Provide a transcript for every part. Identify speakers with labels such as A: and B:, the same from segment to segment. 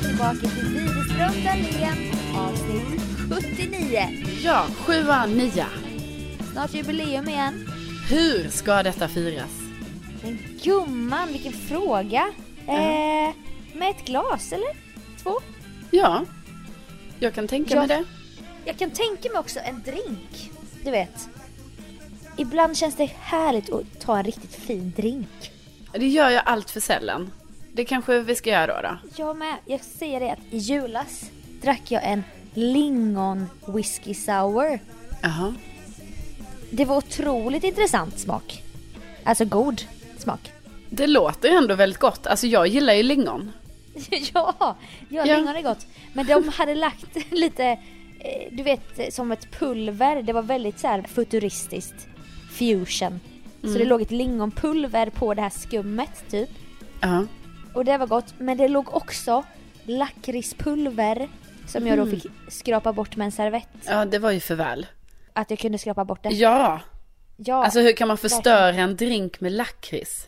A: tillbaka till Widerström Dahlén avsnitt 79.
B: Ja, sjua, nia.
A: Snart jubileum igen.
B: Hur ska detta firas?
A: Men gumman, vilken fråga. Eh, med ett glas eller? Två?
B: Ja, jag kan tänka
A: Ja.
B: mig det.
A: Jag kan tänka mig också en drink. Du vet. Ibland känns det härligt att ta en riktigt fin drink.
B: Det gör jag allt för sällan. Det kanske vi ska göra då. då.
A: Jag med. Jag säger det att i julas drack jag en lingon whisky sour.
B: Jaha.
A: Det var otroligt intressant smak. Alltså god smak.
B: Det låter ju ändå väldigt gott. Alltså jag gillar ju lingon.
A: ja, ja,
B: Ja.
A: lingon är gott. Men de hade lagt lite, eh, du vet som ett pulver. Det var väldigt så här futuristiskt. Fusion. Så
B: Mm.
A: det låg ett lingonpulver på det här skummet typ.
B: Ja.
A: Och det var gott. Men det låg också lakritspulver. Som jag då
B: Mm.
A: fick skrapa bort med en servett.
B: Ja, det var ju för väl.
A: Att jag kunde skrapa bort det.
B: Ja,
A: Ja,
B: alltså hur kan man förstöra en drink med lakrits?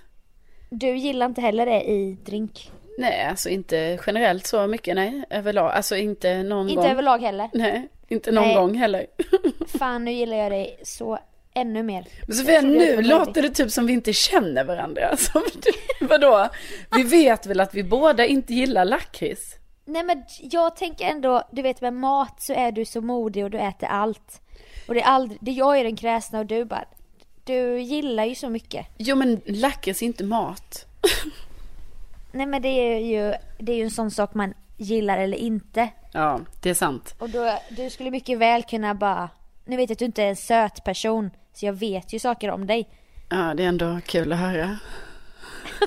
A: du gillar inte heller det i drink.
B: Nej, alltså inte generellt så mycket, nej. Överlag, alltså inte någon gång.
A: Inte överlag heller.
B: Nej, inte någon
A: Nej.
B: gång heller.
A: Fan, nu gillar jag dig så ännu mer.
B: Men Sofia,
A: Jag trodde
B: nu
A: att det var
B: låter det typ som vi inte känner varandra. Som du- Vadå? Vi vet väl att vi båda inte gillar lakrits?
A: Nej men jag tänker ändå, du vet med mat så är du så modig och du äter allt. Och det är aldrig, det jag är den kräsna och du bara, du gillar ju så mycket.
B: Jo, men lakrits är inte mat.
A: Nej men det är ju, det är ju en sån sak man gillar eller inte.
B: Ja, det är sant.
A: Och då, du skulle mycket väl kunna bara, nu vet jag att du inte är en söt person, så jag vet ju saker om dig.
B: Ja, det är ändå kul att höra.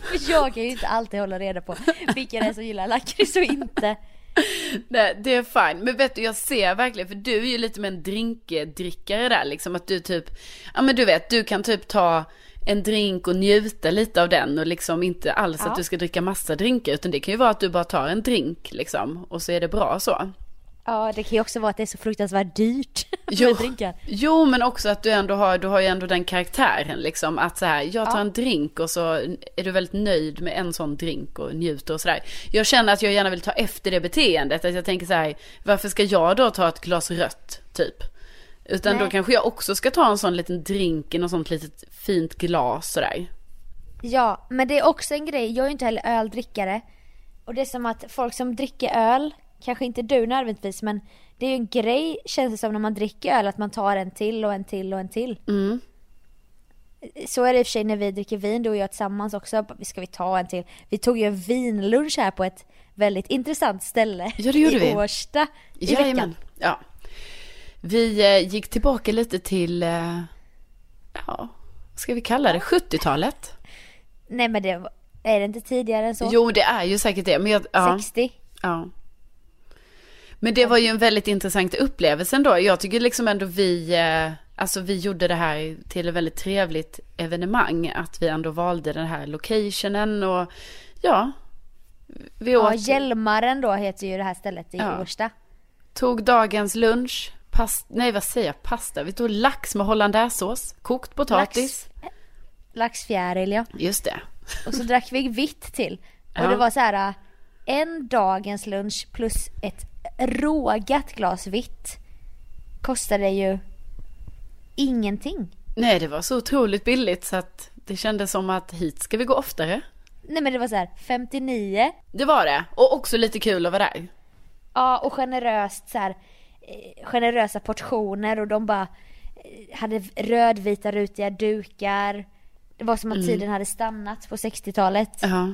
A: För jag kan ju inte alltid hålla reda på vilka det är som gillar lakrits och inte.
B: Nej, det är fine. Men vet du, jag ser verkligen, för du är ju lite med en drinkdrickare där liksom. Att du typ, ja men du vet, du kan typ ta en drink och njuta lite av den och liksom inte alls
A: Ja.
B: att du ska dricka massa drinkar. Utan det kan ju vara att du bara tar en drink liksom och så är det bra så.
A: Ja det kan ju också vara att det är så fruktansvärt dyrt
B: Jo,
A: med drinkar.
B: jo, men också att du ändå har, du har ju ändå den karaktären liksom. Att så här, jag tar en drink och så är du väldigt nöjd med en sån drink och njuter och sådär. Jag känner att jag gärna vill ta efter det beteendet. Att jag tänker så här, varför ska jag då ta ett glas rött typ? Utan
A: Nej.
B: då kanske jag också ska ta en sån liten drink i något sånt litet fint glas sådär.
A: Ja, men det är också en grej. Jag är ju inte heller öldrickare. Och det är som att folk som dricker öl, kanske inte du nödvändigtvis, men det är ju en grej känns det som när man dricker öl att man tar en till och en till och en till.
B: Mm.
A: Så är det i och för sig när vi dricker vin, du och jag tillsammans också. Bara, Ska vi ta en till? Vi tog ju en vinlunch här på ett väldigt intressant ställe
B: Ja, det gjorde
A: i
B: vi.
A: Årsta i veckan.
B: Jajamän. Ja. Vi eh, gick tillbaka lite till, eh, ja, vad ska vi kalla det, 70-talet.
A: Nej men det var- är det inte tidigare än så?
B: Jo, det är ju säkert det. Men, jag, ja,
A: 60?
B: ja. men det var ju en väldigt intressant upplevelse ändå. Jag tycker liksom ändå vi, eh, alltså vi gjorde det här till ett väldigt trevligt evenemang. Att vi ändå valde den här locationen och ja. Vi
A: Ja,
B: åt,
A: Hjälmaren då heter ju det här stället i
B: Ja.
A: Årsta.
B: tog dagens lunch, past, nej vad säger jag, pasta. Vi tog lax med hollandaisesås, kokt potatis.
A: Laxfjäril ja.
B: Just det.
A: Och så drack vi vitt till. Och
B: Ja.
A: det var så här äh, en dagens lunch plus ett rågat glas vitt kostade ju ingenting.
B: Nej, det var så otroligt billigt så att det kändes som att hit ska vi gå oftare.
A: Nej men det var så här 59.
B: Det var det. Och också lite kul att vara där.
A: Ja och generöst så här eh, generösa portioner och de bara eh, hade rödvita rutiga dukar. Det var som att
B: Mm.
A: tiden hade stannat på 60-talet.
B: Ja.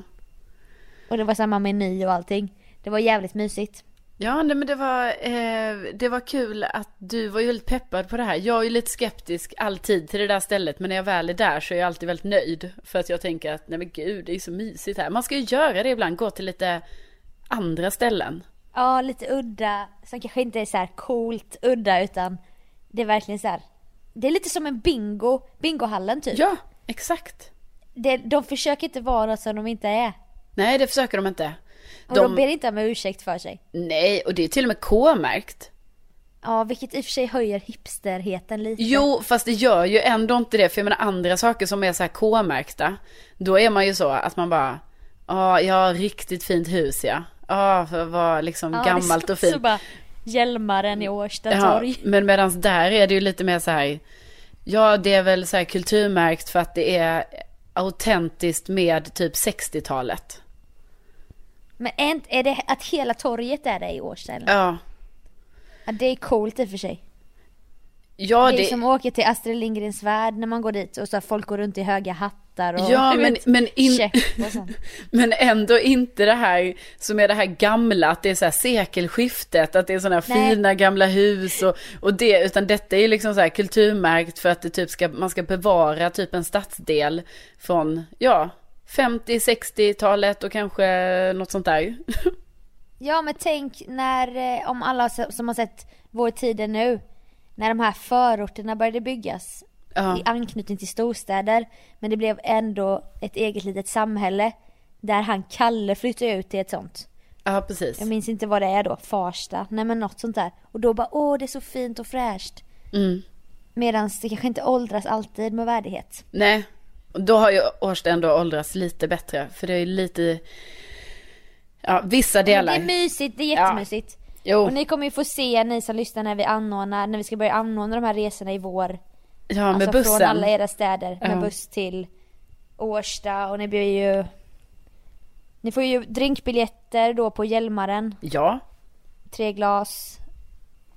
A: Och det var samma meny och allting. Det var jävligt mysigt.
B: Ja, nej, men det var, eh, det var kul att du var ju väldigt peppad på det här. Jag är ju lite skeptisk alltid till det där stället, men när jag väl är där så är jag alltid väldigt nöjd. För att jag tänker att nej men gud, det är ju så mysigt här. Man ska ju göra det ibland, gå till lite andra ställen.
A: Ja, lite udda. Som kanske inte är så här coolt udda utan det är verkligen så här. Det är lite som en bingo, bingohallen typ.
B: Ja, exakt.
A: Det, de försöker inte vara något som de inte är.
B: Nej, det försöker de inte.
A: Och de...
B: De,
A: ber inte om ursäkt för sig.
B: nej, och det är till och med K-märkt.
A: Ja, vilket i och för sig höjer hipsterheten lite.
B: Jo, fast det gör ju ändå inte det. För jag menar andra saker som är så här "Ah, K-märkta. Då är man ju så att man bara, ja, jag har riktigt fint hus ja. Ja, ah, för vad liksom
A: Ja, det är
B: gammalt
A: så-
B: och fint.
A: Så bara, Hjälmaren i Årsta
B: Ja,
A: torg.
B: men medans där är det ju lite mer så här, ja det är väl så här kulturmärkt för att det är autentiskt med typ 60-talet.
A: Men är, inte- är det att hela torget är det i Årsta eller?
B: Ja,
A: Ja, det är coolt i och för sig.
B: ja
A: det är
B: det,
A: som att åka till Astrid Lindgrens värld när man går dit och så här, folk går runt i höga hattar och
B: ja
A: jag
B: men,
A: vet,
B: men, in,
A: käpp och sånt.
B: men ändå inte det här som är det här gamla, att det är så här sekelskiftet, att det är sådana
A: Nej.
B: fina gamla hus och, och det, utan detta är ju liksom så här kulturmärkt för att det typ ska, man ska bevara typ en stadsdel från, ja, 50-60-talet och kanske något sånt där.
A: Ja men tänk när, eh, om alla s- som har sett Vår tid är nu, när de här förorterna började byggas
B: Ja.
A: i anknytning till storstäder, men det blev ändå ett eget litet samhälle där han Kalle flyttade ut till ett sånt.
B: Ja, precis.
A: Jag minns inte vad det är då, Farsta, nej men något sånt där. Och då bara åh det är så fint och fräscht.
B: Mm.
A: Medan det kanske inte åldras alltid med värdighet.
B: Nej, då har ju Årsta ändå åldrats lite bättre. För det är ju lite, ja vissa
A: Men det
B: delar.
A: är Oh. mysigt, det är jättemysigt.
B: Jo,
A: Och ni kommer ju få se, ni som lyssnar, när vi anordnar, när vi ska börja anordna de här resorna i vår.
B: ja med
A: alltså från alla
B: bussen.
A: era städer med
B: Ja.
A: buss till Årsta och ni blir ju Ni får ju drinkbiljetter då på Hjälmaren,
B: Ja,
A: tre glas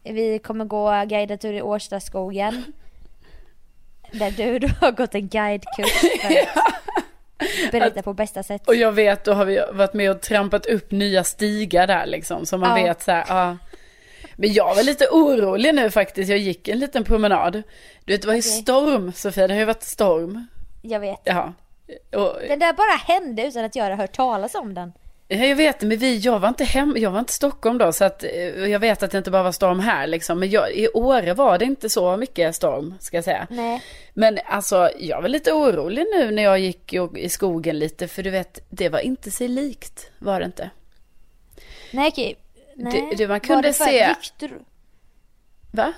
A: Vi kommer gå guidad tur i Årstaskogen Där du då har gått en guidekurs för att berätta på bästa sätt
B: och jag vet då har vi varit med och trampat upp nya stigar där liksom. Så man
A: Ja.
B: vet så här, ja. Men jag var lite orolig nu faktiskt. Jag gick en liten promenad. Du vet, det var ju storm Sofia, det har ju varit storm.
A: Jag vet
B: Ja. Och,
A: Den där bara hände utan att jag hade hört talas om den
B: Ja, jag vet, men vi, jag var inte hem, jag var inte i Stockholm då, så att eh, jag vet att det inte bara var storm här liksom. Men jag, i Åre var det inte så mycket storm, ska jag säga.
A: Nej
B: Men alltså, jag var lite orolig nu när jag gick i- i skogen lite, för du vet, det var inte sig likt, var det inte.
A: Nej okej Nej.
B: Det- det man
A: Var
B: kunde
A: för-
B: se-
A: gick du,
B: Va?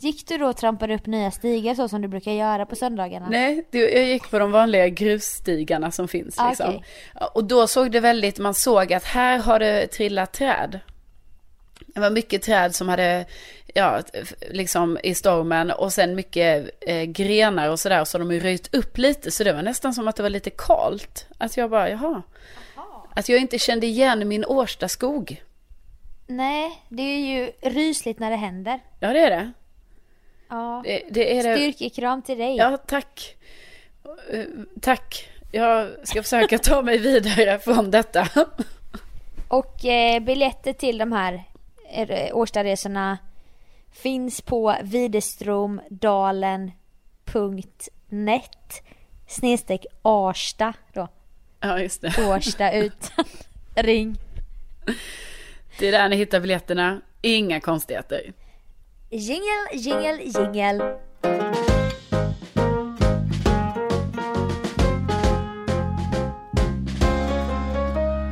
A: gick du då och trampade upp nya stigar så som du brukar göra på söndagarna?
B: Nej, det, jag gick på de vanliga grusstigarna som finns
A: Ah,
B: liksom.
A: okej.
B: Ja, Och då såg det väldigt, man såg att här har det trillat träd. Det var mycket träd som hade, ja, f- liksom i stormen och sen mycket eh, grenar och sådär. Så de har ju röjt upp lite, så det var nästan som att det var lite kalt. Att jag bara, jaha. Att jag inte kände igen min Årstaskog.
A: Nej, det är ju rysligt när det händer.
B: Ja, det är det.
A: Ja.
B: Det, det är det.
A: Styrkekram till dig.
B: Ja, tack. Eh, Tack. Jag ska försöka ta mig vidare från detta.
A: Och eh, biljetter till de här eh, Årstaresorna finns på widerstromdalen.net snedstreck Arsta då.
B: Ja, just det.
A: Årsta utan ring.
B: Det är där ni hittar biljetterna. Inga konstigheter.
A: Jingle, jingle, jingle.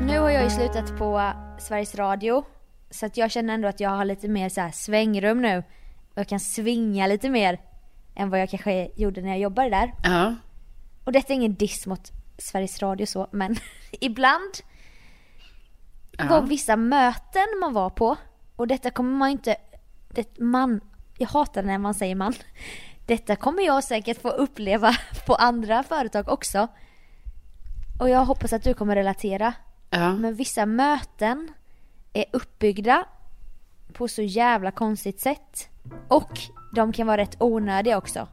A: Nu har jag ju slutat på Sveriges Radio. Så att jag känner ändå att jag har lite mer så här svängrum nu. Och jag kan svinga lite mer än vad jag kanske gjorde när jag jobbade där.
B: Ja,
A: Och detta är ingen diss mot Sveriges Radio så, men ibland var
B: ja.
A: vissa möten man var på. Och detta kommer man inte... Det, man, jag hatar när man säger man. Detta kommer jag säkert få uppleva på andra företag också. Och jag hoppas att du kommer relatera.
B: ja.
A: Men vissa möten är uppbyggda på så jävla konstigt sätt. Och de kan vara rätt onödiga också.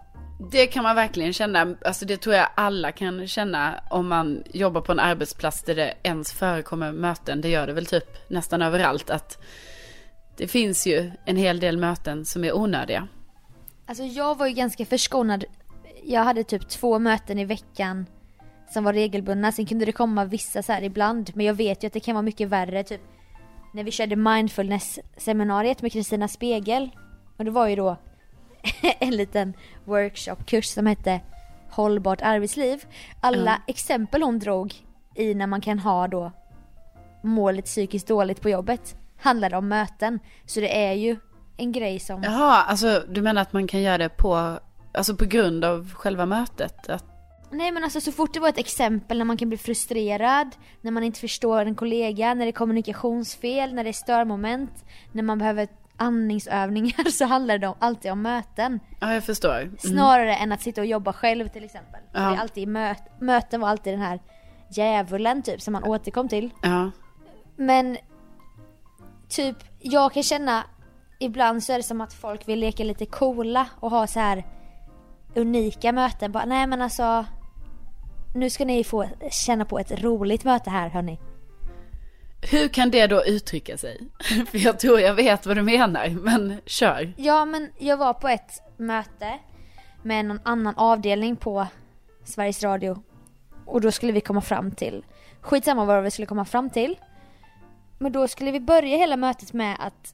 B: Det kan man verkligen känna. Alltså det tror jag alla kan känna om man jobbar på en arbetsplats där det ens förekommer möten. Det gör det väl typ nästan överallt. Att det finns ju en hel del möten som är onödiga.
A: Alltså jag var ju ganska förskonad. Jag hade typ två möten i veckan som var regelbundna. Sen kunde det komma vissa så här ibland. Men jag vet ju att det kan vara mycket värre. Typ när vi körde mindfulness-seminariet med Kristina Spegel. Och det var ju då en liten workshopkurs som hette Hållbart arbetsliv. Alla exempel hon drog i när man kan ha då målet psykiskt dåligt på jobbet handlade om möten. Så det är ju en grej som
B: Jaha, alltså du menar att man kan göra det på, alltså på grund av själva mötet? Att,
A: Nej men alltså så fort det var ett exempel när man kan bli frustrerad, när man inte förstår en kollega, när det är kommunikationsfel, när det är störmoment, när man behöver andningsövningar så handlar det om, alltid om möten.
B: Ja, jag förstår. Mm.
A: Snarare än att sitta och jobba själv till exempel. För
B: Ja.
A: Det är alltid möt, möten var alltid den här djävulen typ som man återkom till.
B: Ja.
A: Men typ, jag kan känna ibland så är det som att folk vill leka lite coola och ha så här unika möten. Bara, nej men alltså, nu ska ni få känna på ett roligt möte här hörni.
B: Hur kan det då uttrycka sig? För jag tror jag vet vad du menar, men kör.
A: Ja men jag var på ett möte med någon annan avdelning på Sveriges Radio. Och då skulle vi komma fram till, skitsamma vad vi skulle komma fram till. Men då skulle vi börja hela mötet med att,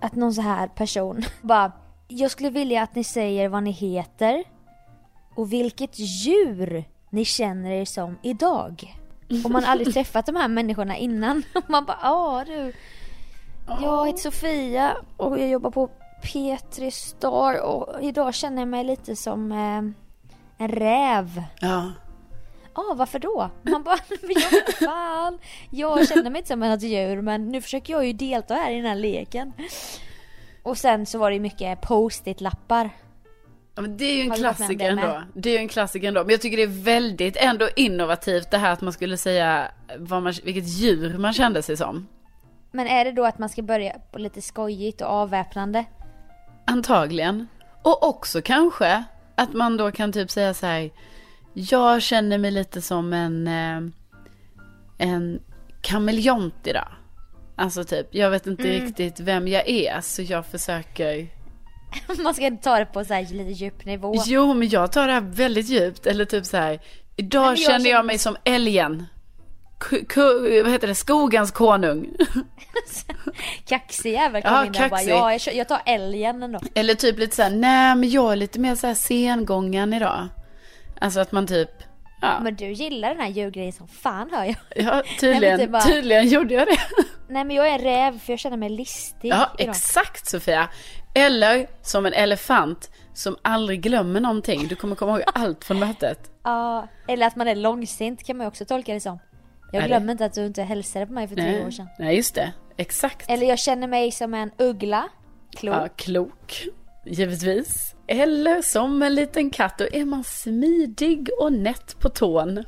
A: att någon så här person bara, jag skulle vilja att ni säger vad ni heter och vilket djur ni känner er som idag. Och man har aldrig träffat de här människorna innan. Och man bara, ja du. Jag heter Sofia och jag jobbar på P3 Star och idag känner jag mig lite som eh, en räv.
B: Ja.
A: Ja, ah, varför då? Man bara, men jag vet inte fan. Jag känner mig inte som ett djur men nu försöker jag ju delta här i den här leken. Och sen så var det ju mycket post-it-lappar.
B: Ja, men det är ju en
A: Har du varit med om det
B: klassiker ändå.
A: med?
B: Det är ju en klassiker ändå. Men jag tycker det är väldigt ändå innovativt det här att man skulle säga vad man, vilket djur man kände sig som.
A: Men är det då att man ska börja på lite skojigt och avväpnande?
B: Antagligen. Och också kanske att man då kan typ säga så här. Jag känner mig lite som en, eh, en kameleont idag. Alltså typ, jag vet inte
A: Mm.
B: riktigt vem jag är så jag försöker
A: Man ska inte ta det på så här lite djup nivå.
B: Jo, men jag tar det här väldigt djupt. Eller typ så här. Idag
A: Men jag
B: känner
A: känner-
B: jag mig som älgen. Ku- ku- vad heter det? Skogens konung.
A: Kaxig jävel kom
B: Ja,
A: in där och bara,
B: kaxig.
A: ja jag, kör- jag tar älgen ändå.
B: Eller typ lite så här, nej men jag är lite mer så här sengången idag. Alltså att man typ, ja,
A: Men du gillar den här djurgrejen som fan hör jag.
B: ja tydligen,
A: typ bara-
B: tydligen gjorde jag det.
A: Nej men jag är en räv för jag känner mig listig
B: Ja,
A: idag.
B: exakt Sofia. Eller som en elefant som aldrig glömmer någonting. Du kommer komma ihåg allt från mötet.
A: Ja, eller att man är långsint kan man ju också tolka det som.
B: Är
A: Jag
B: det?
A: glömmer inte att du inte hälsade på mig för tio
B: Nej,
A: år sedan.
B: nej just det. Exakt.
A: Eller jag känner mig som en uggla. Klok.
B: Ja, klok, givetvis. Eller som en liten katt, då är man smidig och nätt på tån.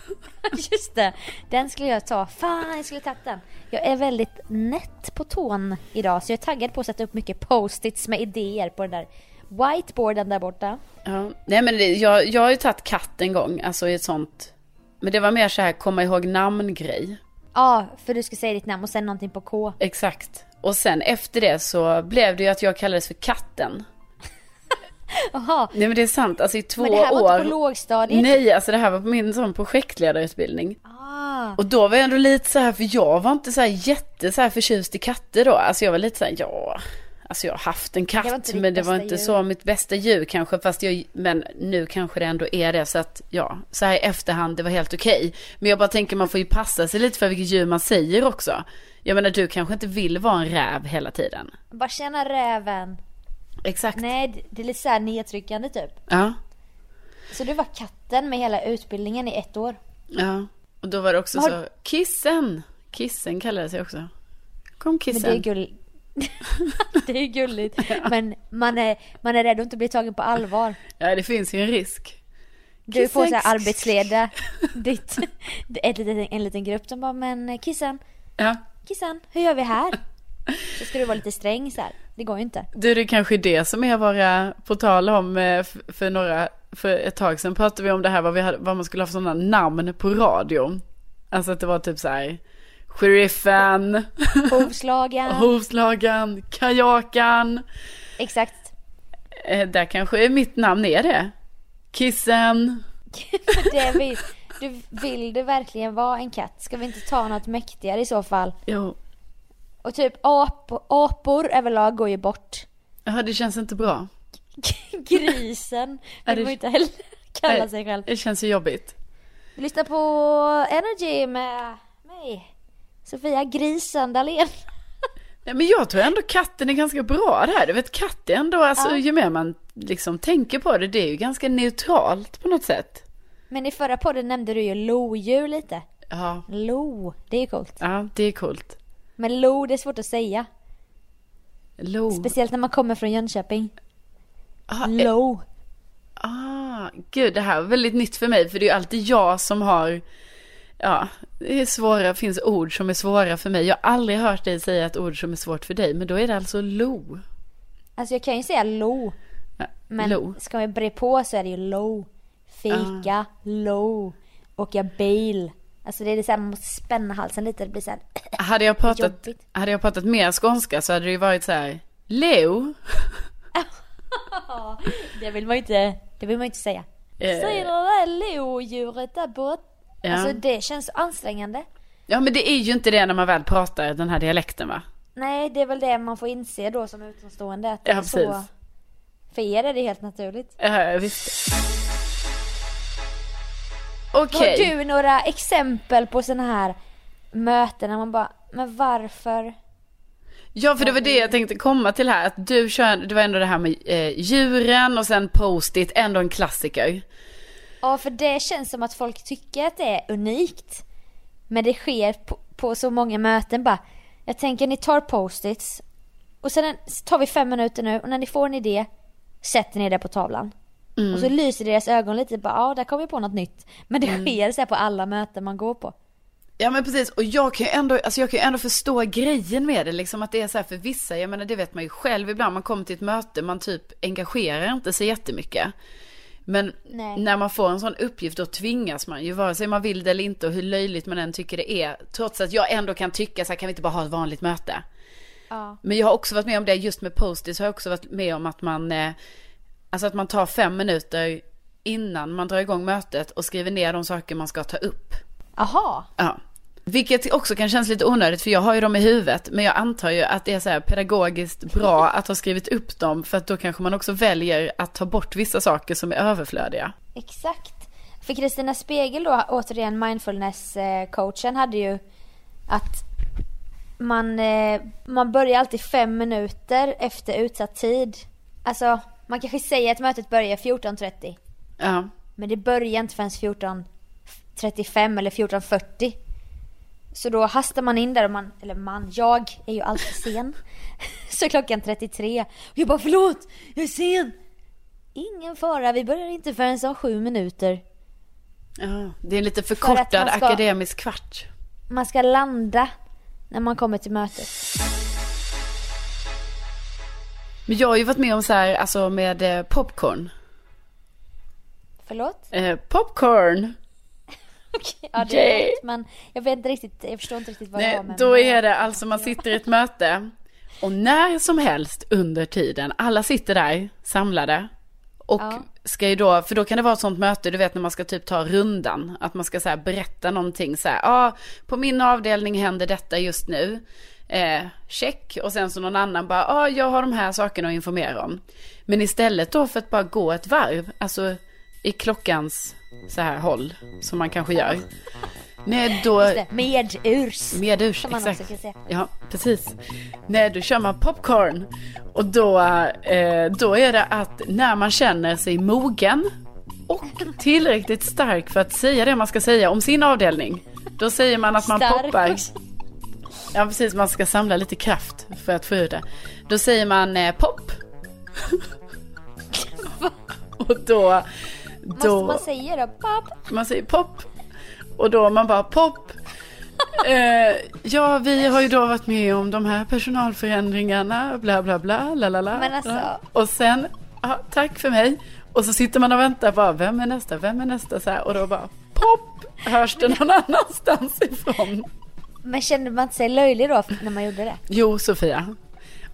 A: Just det, den skulle jag ta. Fan, jag skulle tagit den. Jag är väldigt nätt på tån idag så jag är taggad på att sätta upp mycket post-its med idéer på den där whiteboarden där borta.
B: Ja. Nej men det, jag, jag har ju tagit katt en gång, alltså i ett sånt... Men det var mer så här komma ihåg namn-grej.
A: Ja, för du ska säga ditt namn och sen någonting på K.
B: Exakt. Och sen efter det så blev det ju att jag kallades för katten.
A: Jaha,
B: Nej men det är sant, alltså i två
A: men det här
B: år...
A: var inte på lågstadiet?
B: Nej, alltså det här var på min sån projektledarutbildning.
A: Ah,
B: Och då var jag ändå lite så här, för jag var inte så här jätte så här förtjust i katter då. Alltså jag var lite så här, ja, alltså jag har haft en
A: Det var
B: katt
A: inte ditt
B: men det var
A: bästa
B: inte
A: djur.
B: så mitt bästa djur kanske. Fast jag, men nu kanske det ändå är det. Så att ja, så här i efterhand, det var helt okej. Men jag bara tänker man får ju passa sig lite för vilket djur man säger också. Jag menar du kanske inte vill vara en räv hela tiden.
A: bara känna räven.
B: Exakt.
A: Nej, det- det är lite så här nedtryckande typ.
B: Ja,
A: Så du var katten med hela utbildningen i ett år?
B: ja. Och då var det också
A: Har-
B: så, kissen. Kissen kallades jag också. Kom
A: Men
B: kissen.
A: det är gulligt. det är ju gulligt. Men man är, man är rädd att inte bli tagen på allvar.
B: Ja, det finns ju en risk.
A: Du får så
B: Kissen.
A: här arbetsleda ditt, ett litet, en liten grupp som bara men eh, kissen,
B: Ja.
A: kissen, hur gör vi här? Så ska du vara lite sträng så här. Det går ju inte.
B: Du, det är kanske är det som är våra, på tal om eh, f- för några, för ett tag sedan pratade vi om det här vad, vi hade, vad man skulle ha för sådana namn på radio. Alltså att det var typ så här, sheriffen,
A: Hovslagen,
B: hovslagaren, kajakan.
A: exakt.
B: Eh, där kanske mitt namn är det. Kissen.
A: Det vill, du, vill du verkligen vara en katt? Ska vi inte ta något mäktigare i så fall?
B: Jo,
A: Och typ ap- apor överlag går ju bort.
B: ja, det känns inte bra.
A: Grisen
B: Ja,
A: vill
B: det-
A: man ju inte heller kalla
B: Nej,
A: sig själv.
B: Det känns ju jobbigt.
A: Lyssna på Energy med mig. Sofia Grisen Dahlén.
B: Nej, men jag tror ändå katten är ganska bra där. Du vet, katt är ändå, alltså,
A: Ja.
B: ju mer man liksom tänker på det, det är ju ganska neutralt på något sätt.
A: Men i förra podden nämnde du ju lodjur lite.
B: Ja,
A: Lo, det är ju coolt.
B: ja det är coolt.
A: Men lo, det är svårt att säga.
B: Lo.
A: Speciellt när man kommer från Jönköping.
B: ah, eh,
A: Lo.
B: ah, gud, det här var väldigt nytt för mig. För det är ju alltid jag som har... Ja, det är svåra, finns ord som är svåra för mig. Jag har aldrig hört dig säga ett ord som är svårt för dig. Men då är det alltså lo.
A: Alltså jag kan ju säga lo.
B: Ja,
A: Men
B: Lo.
A: ska man bre på så är det ju low. Fika,
B: Ah.
A: low. Åka bil. Alltså det är så här, man måste spänna halsen lite. Det blir så här.
B: Hade jag pratat,
A: Jobbigt.
B: hade jag pratat mer skånska så hade det ju varit så här. Lo.
A: Det vill man ju inte, det vill man ju inte säga.
B: Eh.
A: Säg det där lodjuret där borta.
B: Ja.
A: Alltså det känns så ansträngande.
B: ja, men det är ju inte det när man väl pratar den här dialekten va?
A: Nej, det är väl det man får inse då som utomstående. Att det
B: Ja,
A: är så.
B: precis.
A: För er är det helt naturligt.
B: Ja, Eh, visst.
A: Har
B: Okej.
A: du några exempel på sådana här möten när man bara, men varför?
B: Ja, för det var det jag tänkte komma till här. Att du kör, det var ändå det här med eh, djuren och sen post-it, ändå en klassiker.
A: Ja, för det känns som att folk tycker att det är unikt. Men det sker på, på så många möten bara. Jag tänker ni tar post-its och sen tar vi fem minuter nu och när ni får en idé sätter ni det på tavlan. Och så lyser deras ögon lite bara ja, där kom vi på något nytt. Men det sker så här på alla möten man går på.
B: Ja men precis, och jag kan ju ändå, alltså jag kan ju ändå förstå grejen med det liksom att det är så här för vissa, jag menar det vet man ju själv ibland, man kommer till ett möte, man typ engagerar inte sig jättemycket. Men
A: Nej.
B: när man får en sån uppgift då tvingas man ju vare sig man vill det eller inte och hur löjligt man än tycker det är, trots att jag ändå kan tycka så här kan vi inte bara ha ett vanligt möte.
A: Ja.
B: Men jag har också varit med om det, just med post-its har jag också varit med om att man, eh, alltså att man tar fem minuter innan man drar igång mötet och skriver ner de saker man ska ta upp.
A: Aha.
B: Ja. Vilket också kan kännas lite onödigt för jag har ju dem i huvudet men jag antar ju att det är så här pedagogiskt bra att ha skrivit upp dem för att då kanske man också väljer att ta bort vissa saker som är överflödiga.
A: Exakt. För Kristina Spegel då, återigen mindfulness-coachen, hade ju att man, eh, man börjar alltid fem minuter efter utsatt tid. Alltså, man kanske säger att mötet börjar 14.30,
B: Ja,
A: men det börjar inte förrän 14.35 eller 14.40. Så då hastar man in där och man, eller man, jag är ju alltid sen. Så klockan 33. Och jag bara förlåt, jag är sen! Ingen fara, vi börjar inte förrän om sju minuter.
B: ja. det är en lite
A: man
B: förkortad
A: ska-
B: akademisk kvart.
A: Man ska landa när man kommer till mötet.
B: Men jag har ju varit med om så här, alltså med eh, popcorn.
A: Förlåt?
B: Eh, popcorn!
A: Ja, det är rätt, men jag vet inte riktigt, jag förstår inte riktigt vad det
B: Nej,
A: var med.
B: då är det alltså man sitter i ett möte och när som helst under tiden, alla sitter där samlade och
A: Ja.
B: ska ju då, för då kan det vara ett sånt möte, du vet när man ska typ ta rundan, att man ska så här berätta någonting så här, ja ah, på min avdelning händer detta just nu, eh, check, och sen så någon annan bara, ja ah, jag har de här sakerna att informera om. Men istället då för att bara gå ett varv, alltså i klockans så här håll, som man kanske gör. Nej, då...
A: Just det, Med urs.
B: Medurs,
A: Som man också
B: exakt.
A: kan säga.
B: Ja, precis. När du kör man popcorn. Och då, eh, då är det att när man känner sig mogen och tillräckligt stark för att säga det man ska säga om sin avdelning. Då säger man att man
A: Stark.
B: poppar. Ja, precis. Man ska samla lite kraft för att få ur det. Då säger man eh, pop. och då...
A: Måste
B: då
A: man säga då? Pop.
B: man säger pop. Och då man bara pop. Eh, ja, vi har ju då varit med om de här personalförändringarna, bla bla bla, la la la.
A: Men alltså-
B: Och sen, ja, tack för mig. Och så sitter man och väntar bara, vem är nästa, vem är nästa så här. Och då bara pop, hörs det någon annanstans ifrån.
A: Men kände man inte sig löjlig då när man gjorde det?
B: Jo, Sofia.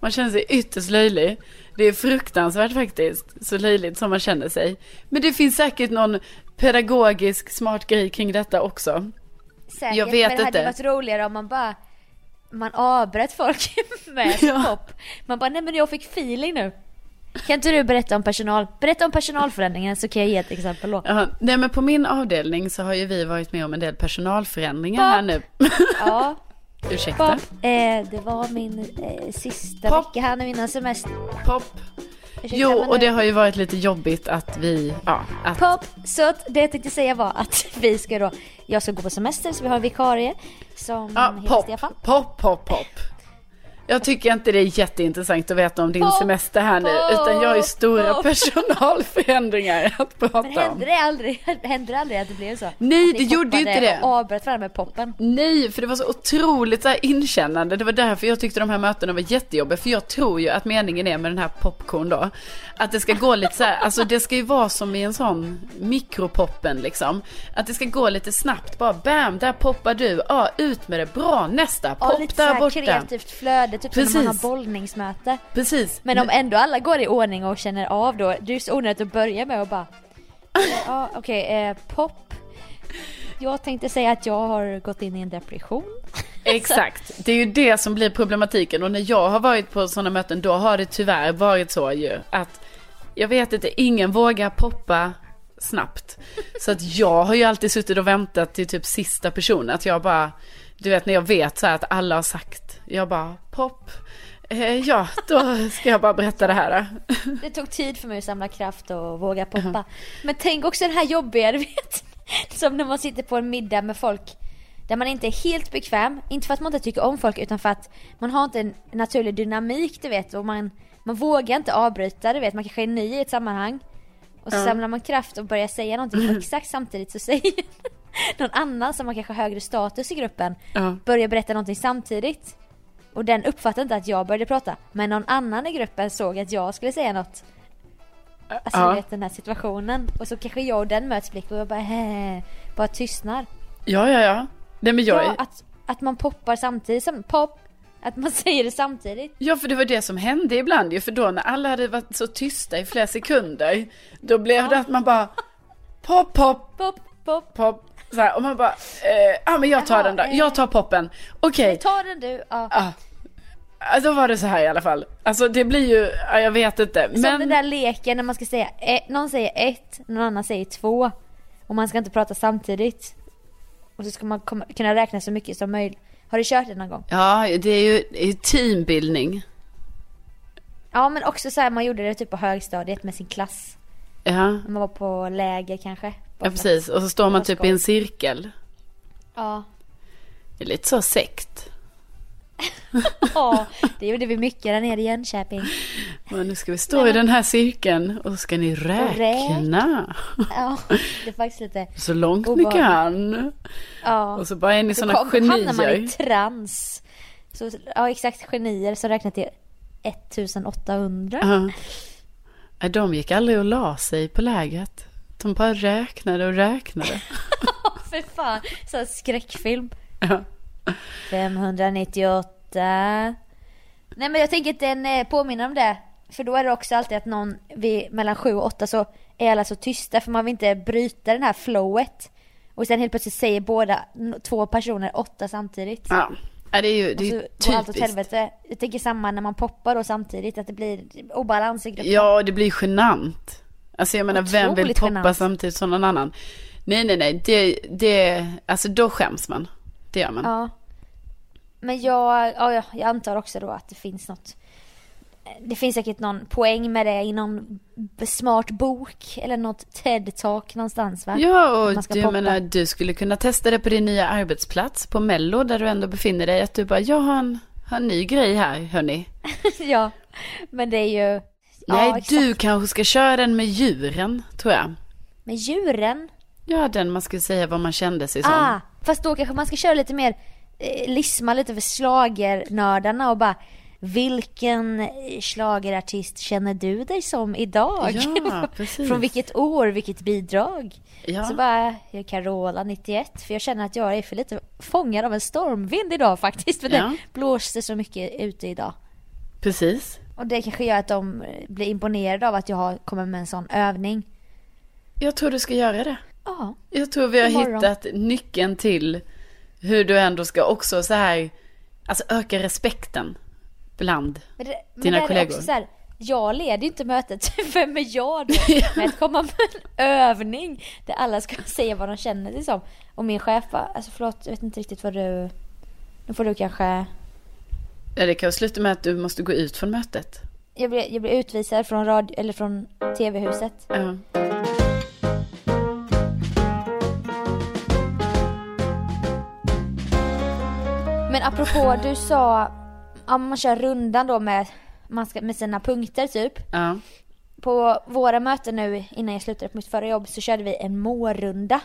B: Man känner sig ytterst löjlig. Det är fruktansvärt faktiskt, så löjligt som man känner sig. Men det finns säkert någon pedagogisk smart grej kring detta också.
A: Säkert,
B: Jag vet
A: men det hade
B: inte.
A: varit roligare om man bara man avbröt folk med
B: Ja.
A: pop. Man bara, nej men jag fick feeling nu. Kan inte du berätta om personal? Berätta om personalförändringen så kan jag ge ett exempel då.
B: Ja, nej men på min avdelning så har ju vi varit med om en del personalförändringar
A: Pop.
B: här nu.
A: Ja,
B: Ursäkta.
A: pop. Eh, det var min eh, sista
B: Pop.
A: vecka här nu innan semester.
B: Pop.
A: Ursäkta,
B: Jo,
A: men
B: och
A: nu-
B: det har ju varit lite jobbigt att vi, ja, att,
A: Pop, så att det jag tänkte säga var att vi ska då, jag ska gå på semester så vi har en vikarie som
B: ja,
A: heter
B: pop,
A: Stefan.
B: pop, pop, pop. Jag tycker inte det är jätteintressant att veta om din
A: Pop,
B: semester här nu,
A: pop,
B: utan jag har ju stora
A: pop.
B: personalförändringar att
A: Men
B: prata om.
A: hände det aldrig, hände det aldrig att det blev så? Nej
B: det gjorde ju inte det.
A: Och avbröt varandra med poppen.
B: Nej, för det var så otroligt så här inkännande. Det var därför jag tyckte de här mötena var jättejobbiga. För jag tror ju att meningen är med den här popcorn då. Att det ska gå lite så här, alltså det ska ju vara som i en sån mikropoppen liksom. Att det ska gå lite snabbt, bara bam, där poppar du, ja ut med det, bra, nästa,
A: Ja,
B: popp
A: lite så
B: där
A: här
B: borta.
A: kreativt flöde, typ som när man har
B: Precis.
A: bollningsmöte.
B: Precis.
A: Men om ändå alla går i ordning och känner av då, det är ju så onödigt att börja med och bara Ja okej, eh, pop. Jag tänkte säga att jag har gått in i en depression.
B: Exakt, det är ju det som blir problematiken och när jag har varit på sådana möten då har det tyvärr varit så ju att jag vet inte, ingen vågar poppa snabbt. Så att jag har ju alltid suttit och väntat till typ sista personen, att jag bara, du vet när jag vet så här att alla har sagt, jag bara pop, eh, ja då ska jag bara berätta det här. då."
A: Det tog tid för mig att samla kraft och våga poppa. Men tänk också den här jobbiga, du vet. Som när man sitter på en middag med folk där man inte är helt bekväm. Inte för att man inte tycker om folk utan för att man har inte en naturlig dynamik du vet. Och man, man vågar inte avbryta du vet. Man kanske är ny i ett sammanhang. Och så samlar man kraft och börjar säga någonting och exakt samtidigt så säger någon annan som har kanske högre status i gruppen
B: Ja.
A: börjar berätta någonting samtidigt. Och den uppfattade inte att jag började prata. Men någon annan i gruppen såg att jag skulle säga något. Alltså
B: Ja.
A: du vet den här situationen. Och så kanske jag och den möts blick och jag bara "Hä", Bara tystnar.
B: Ja, ja, ja. Nej men jag,
A: Ja, att, att man poppar samtidigt som pop. Att man säger det samtidigt.
B: Ja, för det var det som hände ibland ju, för då när alla hade varit så tysta i flera sekunder, då blev det att man bara pop, pop,
A: Pop, pop.
B: pop, så här, och man bara, eh, ja men jag tar
A: Jaha,
B: den då,
A: eh.
B: jag tar poppen, okej,
A: Ta den du. Ja.
B: ja. Ja, Då var det så här i alla fall. Alltså det blir ju, ja, jag vet inte.
A: Som den
B: Men
A: där leken när man ska säga eh, någon säger ett, någon annan säger två. Och man ska inte prata samtidigt. Och så ska man komma, kunna räkna så mycket som möjligt. Har du kört det någon gång?
B: ja, det är ju det är ju teambildning.
A: Ja men också så här, man gjorde det typ på högstadiet med sin klass.
B: Ja.
A: När man var på läger kanske.
B: ja, precis. Och så står man typ i en cirkel.
A: Ja.
B: Det är lite så sekt.
A: ja, det gjorde vi mycket där nere i Jönköping.
B: Men nu ska vi stå i den här cirkeln och ska ni räkna.
A: Ja, det är faktiskt lite...
B: Så långt ni
A: Obehagligt.
B: kan.
A: Ja.
B: Och så bara är ni sådana
A: kom- hamnar man i
B: genier.
A: trans. Så, ja exakt, genier som räknat till 1800.
B: Ja. Nej, De gick aldrig och la sig på lägret. De bara räknade och räknade.
A: För fan, så här skräckfilm.
B: Ja.
A: 598. Nej men jag tänker att den eh, påminner om det. För då är det också alltid att någon vid, mellan 7 och 8 så är alla så tysta för man vill inte bryta den här flowet. Och sen helt plötsligt säger båda, n- två personer, åtta samtidigt.
B: Ja. Ja, det är ju det är ju
A: Och så går allt åt
B: typiskt.
A: Alltså, helvete. Jag tänker samma när man poppar då samtidigt att det blir obalans i gruppen.
B: Ja, det blir genant. Alltså jag menar, vem vill
A: Otroligt
B: poppa
A: genant.
B: samtidigt som någon annan? Nej, nej, nej. Det, det, alltså då skäms man. Det gör man.
A: Ja. Men jag, ja, jag- jag antar också då att det finns något. Det finns säkert någon poäng med det i någon b- smart bok eller något TED-talk någonstans va?
B: Ja,
A: Att
B: och
A: man ska
B: du
A: poppa.
B: menar, du skulle kunna testa det på din nya arbetsplats på Mello, där du ändå befinner dig. Att du bara, jag har en, har en ny grej här, hörni.
A: ja. Men det är ju... ja,
B: Nej,
A: exakt.
B: du kanske ska köra den med djuren, tror jag.
A: Men djuren?
B: Ja, den man skulle säga vad man kände sig som.
A: Ah, fast då kanske man ska köra lite mer, eh, lisma lite för schlagernördarna och bara vilken slagerartist känner du dig som idag?
B: Ja, precis.
A: Från vilket år, vilket bidrag?
B: Ja.
A: Så bara, jag är Carola 91, för jag känner att jag är för lite fångad av en stormvind idag faktiskt. För
B: Ja.
A: det blåste så mycket ute idag.
B: Precis.
A: Och det kanske gör att de eh, blir imponerade av att jag har- kommer med en sån övning.
B: Jag tror du ska göra det.
A: Ja,
B: Jag tror vi har
A: Imorgon.
B: hittat nyckeln till hur du ändå ska också så här, alltså öka respekten bland.
A: Men det, men
B: Dina
A: där Är det
B: kollegor.
A: också så här, jag leder ju inte mötet, vem är jag då? Med att komma med en övning där alla ska säga vad de känner sig som. Och min chef bara, alltså förlåt, jag vet inte riktigt vad du... Nu får du kanske...
B: Ja, Det kan ju sluta med att du måste gå ut från mötet.
A: jag blev, jag blev utvisad från, radio, eller från TV-huset.
B: Ja.
A: Men apropå, du sa om man kör rundan då med, man ska, med sina punkter typ.
B: Ja.
A: På våra möten nu innan jag slutade på mitt förra jobb så körde vi en mårunda.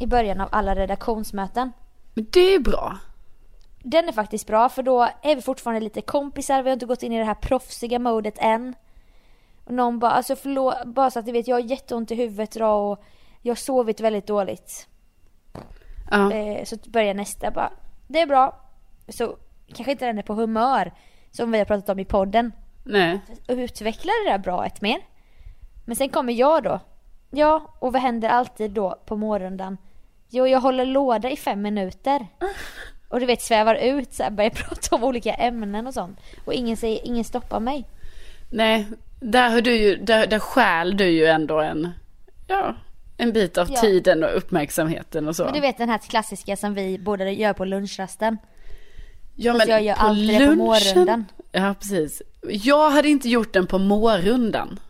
A: I början av alla redaktionsmöten.
B: Men det är bra.
A: Den är faktiskt bra för då är vi fortfarande lite kompisar, vi har inte gått in i det här proffsiga modet än. Och någon bara, alltså förlåt, bara så att du vet, jag har jätteont i huvudet idag och jag har sovit väldigt dåligt.
B: Ja.
A: Eh, så att börja nästa bara, det är bra. Så kanske inte den är på humör som vi har pratat om i podden.
B: Nej.
A: Utveckla det där bra ett mer. Men sen kommer jag då. Ja, och vad händer alltid då på morgondan? Jo, jag håller låda i fem minuter. Och du vet svävar ut så här, börjar prata om olika ämnen och sånt. Och ingen, säger, ingen stoppar mig.
B: Nej. Där, har du ju, där, där stjäl du ju ändå en, ja, en bit av
A: Ja.
B: tiden och uppmärksamheten och så.
A: Men du vet den här klassiska som vi båda gör på lunchrasten.
B: Ja,
A: Fast jag gör alltid det på mårrundan.
B: Ja, precis. Jag hade inte gjort den på mårrundan.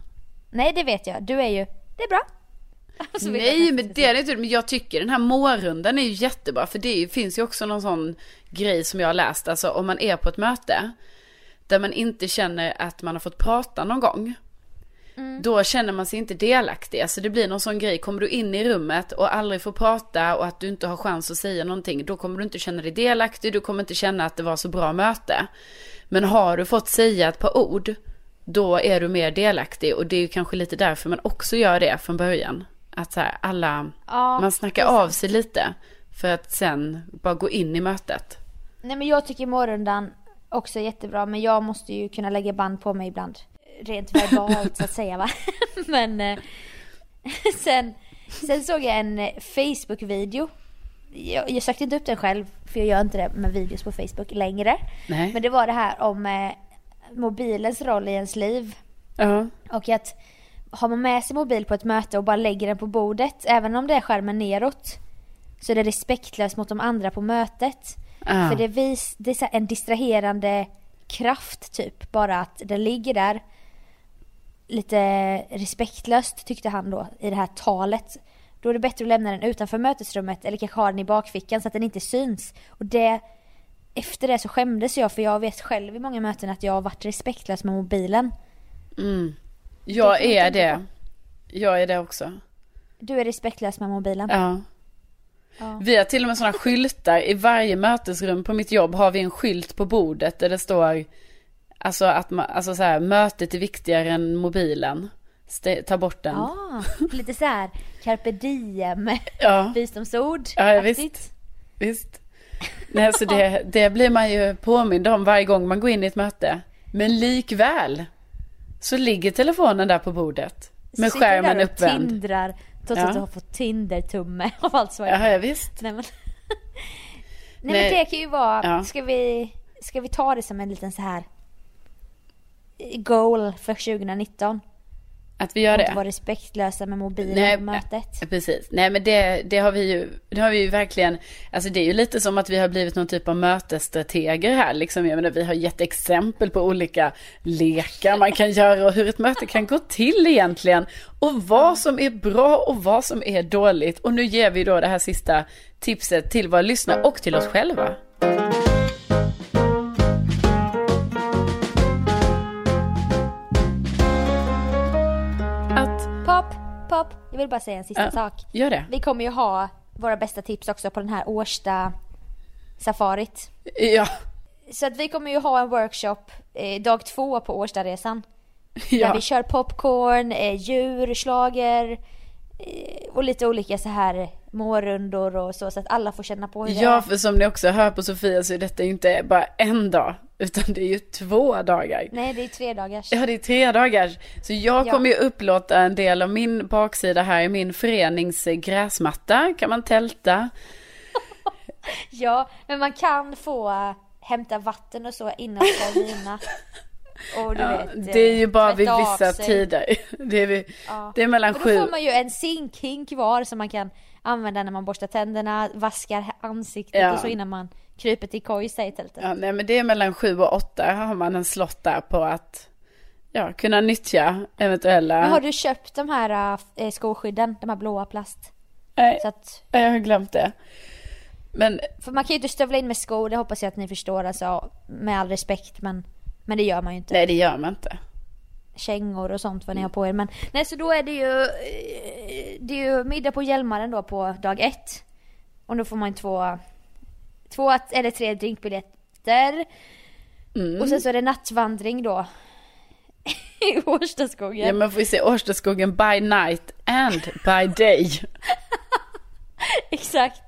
A: Nej, det vet jag. Du är ju, det är bra. Alltså, Och så vill jag
B: Nej,
A: att-
B: men det är det inte. Men jag tycker den här mårrundan är ju jättebra. För det är ju- finns ju också någon sån grej som jag har läst. Alltså om man är på ett möte där man inte känner att man har fått prata någon gång. Då känner man sig inte delaktig. Alltså det blir någon sån grej. Kommer du in i rummet och aldrig får prata och att du inte har chans att säga någonting. Då kommer du inte känna dig delaktig. Du kommer inte känna att det var så bra möte. Men har du fått säga ett par ord. Då är du mer delaktig. Och det är ju kanske lite därför man också gör det från början. Att så här, alla,
A: Ja,
B: man snackar av sig lite. För att sen bara gå in i mötet.
A: Nej men jag tycker morgondan också är jättebra men jag måste ju kunna lägga band på mig ibland. Rent verbalt så att säga va. men eh, sen, sen såg jag en eh, Facebook-video. Jag, jag sökte inte upp den själv för jag gör inte det med videos på Facebook längre.
B: Nej.
A: Men det var det här om eh, mobilens roll i ens liv.
B: Ja.
A: Och att har man med sig mobil på ett möte och bara lägger den på bordet, även om det är skärmen neråt, så är det respektlöst mot de andra på mötet.
B: Ja.
A: För det, vis, det är så här en distraherande kraft typ, bara att den ligger där. Lite respektlöst tyckte han då i det här talet. Då är det bättre att lämna den utanför mötesrummet eller kanske ha den i bakfickan så att den inte syns. Och det, efter det så skämdes jag för jag vet själv i många möten att jag har varit respektlös med mobilen.
B: Jag
A: Det kan jag
B: är
A: tänka
B: det. Jag är det också.
A: Du är respektlös med mobilen.
B: Ja.
A: Ja.
B: Vi har till och med sådana skyltar. I varje mötesrum på mitt jobb har vi en skylt på bordet där det står alltså att man, alltså så här, mötet är viktigare än mobilen. Ste- ta bort den. Ja,
A: Ah, lite så här carpe diem
B: ja
A: visdomsord.
B: Ja, ja, visst.
A: Aktigt.
B: visst. Nej, så det, det blir man ju påmind om varje gång man går in i ett möte. Men likväl så ligger telefonen där på bordet. Med
A: Sitter där
B: skärmen
A: och
B: uppvänd.
A: tindrar trots
B: Ja.
A: att du har fått Tinder-tumme av allt vad jag
B: Ja, ja, visst.
A: Nej men. Nej,
B: Nej.
A: men det kan ju vara,
B: Ja.
A: ska, vi, ska vi ta det som en liten så här goal för 2019?
B: Att vi gör
A: Att
B: det.
A: inte vara respektlösa med mobilen
B: Nej,
A: på mötet.
B: nej, Precis. Nej men det, det, har vi ju, det har vi ju verkligen, alltså det är ju lite som att vi har blivit någon typ av mötesstrateger här liksom. Jag menar vi har gett exempel på olika lekar man kan göra och hur ett möte kan gå till egentligen. Och vad som är bra och vad som är dåligt. Och nu ger vi då det här sista tipset till våra lyssnare och till oss själva. Att,
A: Pop, pop. Jag vill bara säga en sista
B: ja,
A: sak.
B: gör det.
A: Vi kommer ju ha våra bästa tips också på den här Årsta safarit.
B: Ja,
A: Så att vi kommer ju ha en workshop eh, dag två på Årstaresan.
B: ja.
A: Där vi kör popcorn, eh, djur, schlager eh, och lite olika så här mårundor och så. Så att alla får känna på hur
B: Ja,
A: det
B: för som ni också hör på Sofia så är detta ju inte bara en dag, utan det är ju två dagar.
A: är. Nej, det är tre dagars.
B: Ja, det är tre dagar. Så jag
A: Ja.
B: kommer ju upplåta en del av min baksida här i min förenings gräsmatta. Kan man tälta?
A: Ja, men man kan få eh, hämta vatten och så innan Carolina. Och du
B: Ja,
A: vet,
B: det är ju
A: eh,
B: bara vid
A: tvätta av
B: vissa
A: sig.
B: tider. Det är, vid,
A: Ja.
B: det är mellan
A: Och då får
B: sju.
A: man ju en sinkhink kvar som man kan använda när man borstar tänderna, vaskar ansiktet
B: Ja.
A: och så innan man kryper till kojs där i tältet.
B: Ja, nej, men det är mellan sju och åtta har man en slott där på att Ja, kunna nyttja eventuella...
A: Men har du köpt de här äh, skoskydden, de här blåa plast?
B: Nej,
A: Så att,
B: jag har glömt det. Men
A: för man kan ju inte stövla in med skor, det hoppas jag att ni förstår alltså. Med all respekt men, men det gör man ju inte.
B: nej, det gör man inte.
A: Kängor och sånt vad ni har
B: Mm.
A: på er. Men nej så då är det ju, eh, det är ju middag på Hjälmaren då på dag ett. Och då får man ju två, två eller tre drinkbiljetter.
B: Mm.
A: Och sen så är det nattvandring då. I Årstaskogen.
B: Ja, men får vi se Årstaskogen by night and by day.
A: Exakt.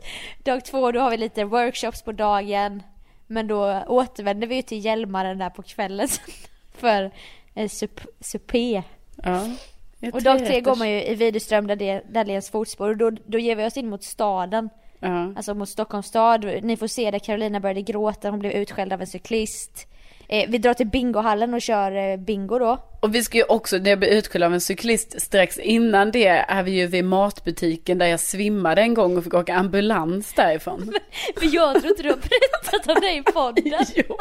A: Dag två, då har vi lite workshops på dagen. Men då återvänder vi ju till Hjälmaren där på kvällen sen för en sup, supé.
B: Ja. Jag
A: Och dag
B: tror
A: tre
B: att-
A: går man ju i Widerström där det där det är ens fotspår och då, då ger vi oss in mot staden.
B: Ja.
A: Alltså mot Stockholms stad. Ni får se där Carolina började gråta, hon blev utskälld av en cyklist. Eh, vi drar till bingohallen och kör eh, bingo då.
B: Och vi ska ju också, när jag blev utskälld av en cyklist strax innan det är vi ju vid matbutiken där jag svimmade en gång och fick åka ambulans därifrån.
A: För jag tror inte du har berättat om det i podden.
B: jo.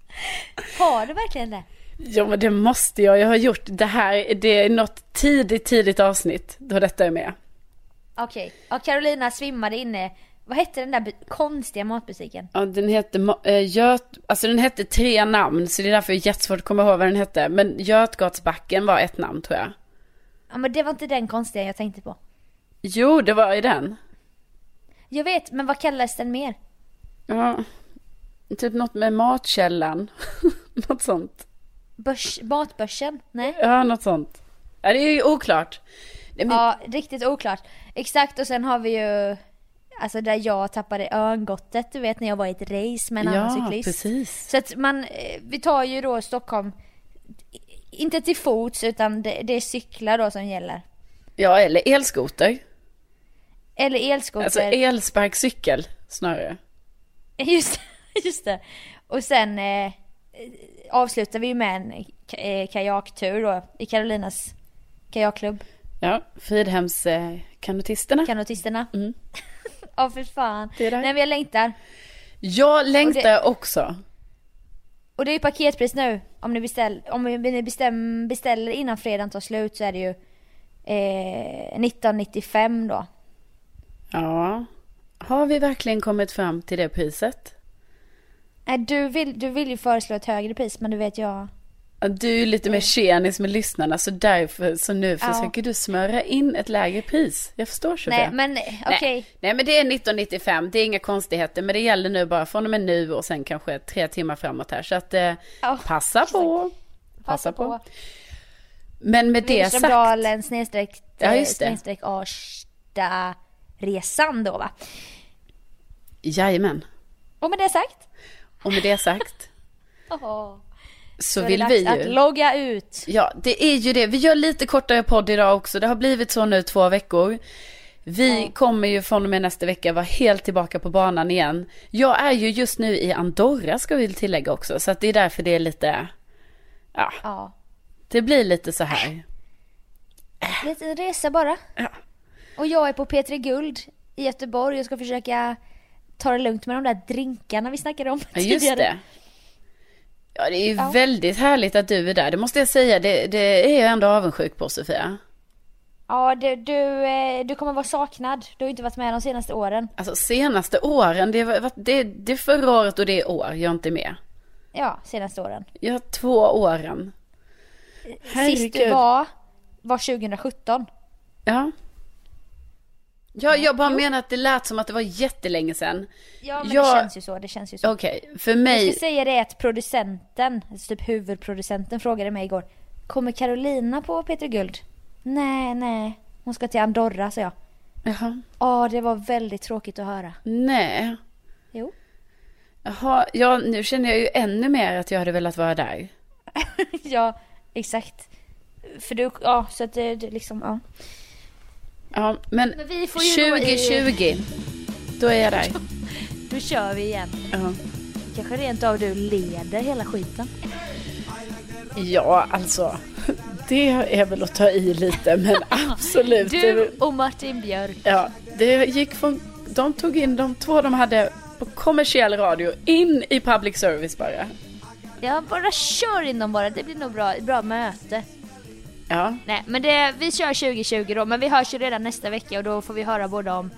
A: Har du verkligen det?
B: Ja men det måste jag, jag har gjort det här, det är något tidigt, tidigt avsnitt då detta är med.
A: Okej, ja, Carolina svimmade inne. Vad hette den där bu- konstiga matbutiken?
B: Ja, den hette, Ma- eh, Göt, alltså den hette tre namn så det är därför det är jättesvårt att komma ihåg vad den hette. Men Götgatsbacken var ett namn tror jag.
A: Ja men det var inte den konstiga jag tänkte på.
B: Jo, det var ju den.
A: Jag vet, men vad kallades den mer?
B: Ja, typ något med matkällan. något sånt.
A: Börs, matbörsen? Nej?
B: Ja, något sånt. Ja, det är ju oklart. Nej, men,
A: Ja, riktigt oklart. Exakt, och sen har vi ju Alltså där jag tappade örngottet, du vet när jag var i ett race med en annan cyklist.
B: precis.
A: Så att man, eh, vi tar ju då Stockholm, i- inte till fots utan det, det är cyklar då som gäller.
B: Ja, eller elskoter.
A: Eller elskoter.
B: Alltså elsparkcykel snarare.
A: Just, just det. Och sen eh, eh, avslutar vi ju med en ka- eh, kajaktur då i Carolinas kajakklubb,
B: Ja, Fridhems eh, kanotisterna.
A: kanotisterna.
B: Mm.
A: Ja för fan.
B: Det är där.
A: Nej men jag längtar.
B: Jag längtar
A: Och det-
B: också.
A: Och det är ju paketpris nu. Om ni, beställ, om ni bestäm, beställer innan fredagen tar slut så är det ju eh, 1995 då.
B: Ja. Har vi verkligen kommit fram till det priset?
A: Nej Eh, du vill, du vill ju föreslå ett högre pris men du vet jag.
B: Ja, Du är lite mer tjenis med lyssnarna så därför så nu
A: Ja.
B: försöker du smöra in ett lägre pris. Jag förstår Sofia.
A: Nej men eh, okej.
B: Nej. Nej men det är 1995, det är inga konstigheter men det gäller nu bara från och med nu och sen kanske tre timmar framåt här så att eh,
A: Ja,
B: passa på.
A: Passa på.
B: Men med det sagt.
A: Widerströmdalen snedstreck,
B: Ja,
A: eh,
B: just det.
A: snedstreck Arsta resan då va?
B: Jajamän.
A: Och med det sagt.
B: Och med det sagt
A: Oh,
B: så,
A: då är
B: vill
A: det
B: vi
A: dags att
B: ju.
A: logga ut.
B: Ja det är ju det, vi gör lite kortare podd idag också. Det har blivit så nu två veckor. Vi kommer ju från och med nästa vecka vara helt tillbaka på banan igen. Jag är ju just nu i Andorra ska vi tillägga också så att det är därför det är lite, ja
A: Ja.
B: det blir lite så här.
A: Liten resa bara.
B: Ja.
A: Och jag är på P3 Guld i Göteborg och ska försöka ta det lugnt med de där drinkarna vi snackade om
B: Ja, just det. Ja, det är ju
A: Ja.
B: väldigt härligt att du är där. Det måste jag säga. Det, det är jag ändå avundsjuk på, Sofia.
A: Ja, du, du, eh, du kommer vara saknad. Du har ju inte varit med de senaste åren.
B: Alltså senaste åren, det, var, det, det är förra året och det är år jag är inte med.
A: Ja, senaste åren.
B: Jag har två åren.
A: Sist du var, var 2017.
B: Ja. Ja, jag bara menar att det lät som att det var jättelänge sedan.
A: Ja, men
B: Jag-
A: det känns ju så. Det känns ju så.
B: Okej, för
A: Jag
B: mig.
A: ska säga det att producenten, alltså typ huvudproducenten frågade mig igår. Kommer Carolina på Peter Guld? Nej, nej. Hon ska till Andorra, sa jag.
B: Jaha.
A: Ja, det var väldigt tråkigt att höra.
B: Nej.
A: Jo.
B: Jaha, ja, nu känner jag ju ännu mer att jag hade velat vara där.
A: ja, exakt. För du, ja, så att det, det liksom, ja.
B: Ja, men,
A: Men vi får ju gå i-
B: 2020, då är jag där.
A: Då kör vi igen.
B: Ja.
A: Kanske rent av du leder hela skiten.
B: Ja, alltså. Det är väl att ta i lite, men absolut.
A: Du och Martin Björk.
B: Ja, det gick från, de tog in de två de hade på kommersiell radio in i public service bara.
A: Ja, bara kör in dem bara. Det blir nog bra, bra möte.
B: Ja,
A: Nej, men det, vi kör 2020 då. Men vi hörs ju redan nästa vecka och då får vi höra både om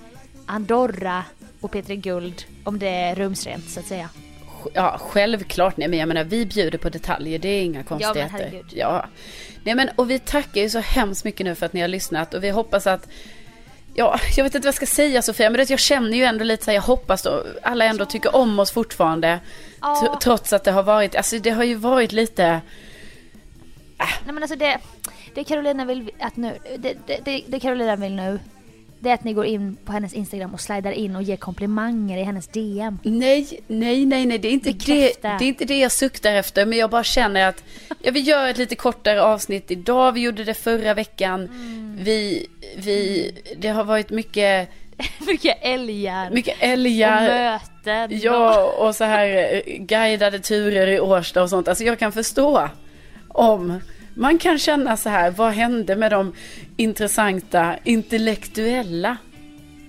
A: Andorra och Petri Guld. Om det är rumsrent så att säga.
B: ja, självklart. Nej men jag menar vi bjuder på detaljer, det är inga konstigheter.
A: herregud.
B: ja. Nej men och vi tackar ju så hemskt mycket nu för att ni har lyssnat och vi hoppas att Ja, jag vet inte vad jag ska säga Sofia, men det, jag känner ju ändå lite så här, jag hoppas då, alla ändå tycker om oss fortfarande.
A: Ja.
B: Tr- Trots att det har varit, alltså det har ju varit lite,
A: Nej men alltså det, det Carolina vill att nu, det, det, det, det Carolina vill nu, det är att ni går in på hennes Instagram och slidar in och ger komplimanger i hennes DM.
B: Nej, nej, nej, nej. Det är, inte det, det
A: Bekräfta.
B: är inte det jag suktar efter. Men jag bara känner att jag vill göra ett lite kortare avsnitt idag. Vi gjorde det förra veckan. Mm. Vi, vi, det har varit mycket,
A: Mycket älgar
B: mycket
A: och
B: älgar.
A: möten.
B: Ja, och så här eh, guidade turer i Årsta och sånt. Alltså jag kan förstå om man kan känna så här, vad hände med de intressanta intellektuella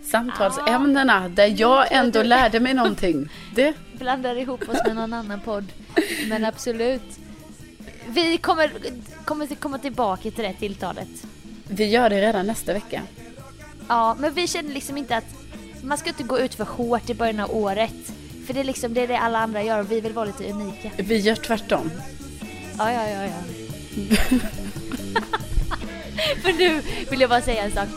B: samtalsämnena där jag ändå lärde mig någonting. Det
A: blandar ihop oss med någon annan podd. Men absolut. Vi kommer, kommer till- komma tillbaka till det tilltalet.
B: Vi gör det redan nästa vecka.
A: Ja, men vi känner liksom inte att man ska inte gå ut för hårt i början av året. För det är liksom det, är det alla andra gör och vi vill vara lite unika.
B: Vi gör tvärtom.
A: Ja, ja, ja, ja. För nu vill jag bara säga en sak.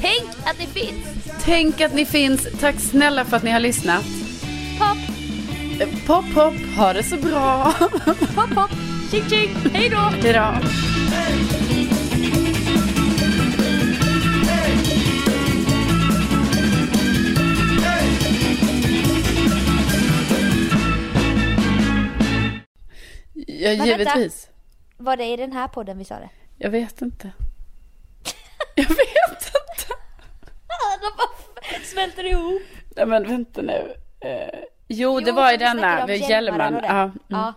A: Tänk att ni finns!
B: Tänk att ni finns. Tack snälla för att ni har lyssnat.
A: Pop,
B: Eh, Pop, pop, ha det så bra.
A: pop, pop! Tjing, tjing! Hej då!
B: Hejdå. Ja,
A: vänta.
B: givetvis.
A: Var det i den här podden vi sa det?
B: Jag vet inte. Jag vet inte.
A: Ah, De bara smälter ihop.
B: Nej men vänta nu. Eh, jo, det
A: Jo,
B: var i
A: vi snackade
B: denna,
A: om
B: vid
A: Hjälmaren
B: Hjälman.
A: och det.
B: Ja, mm.
A: Ja.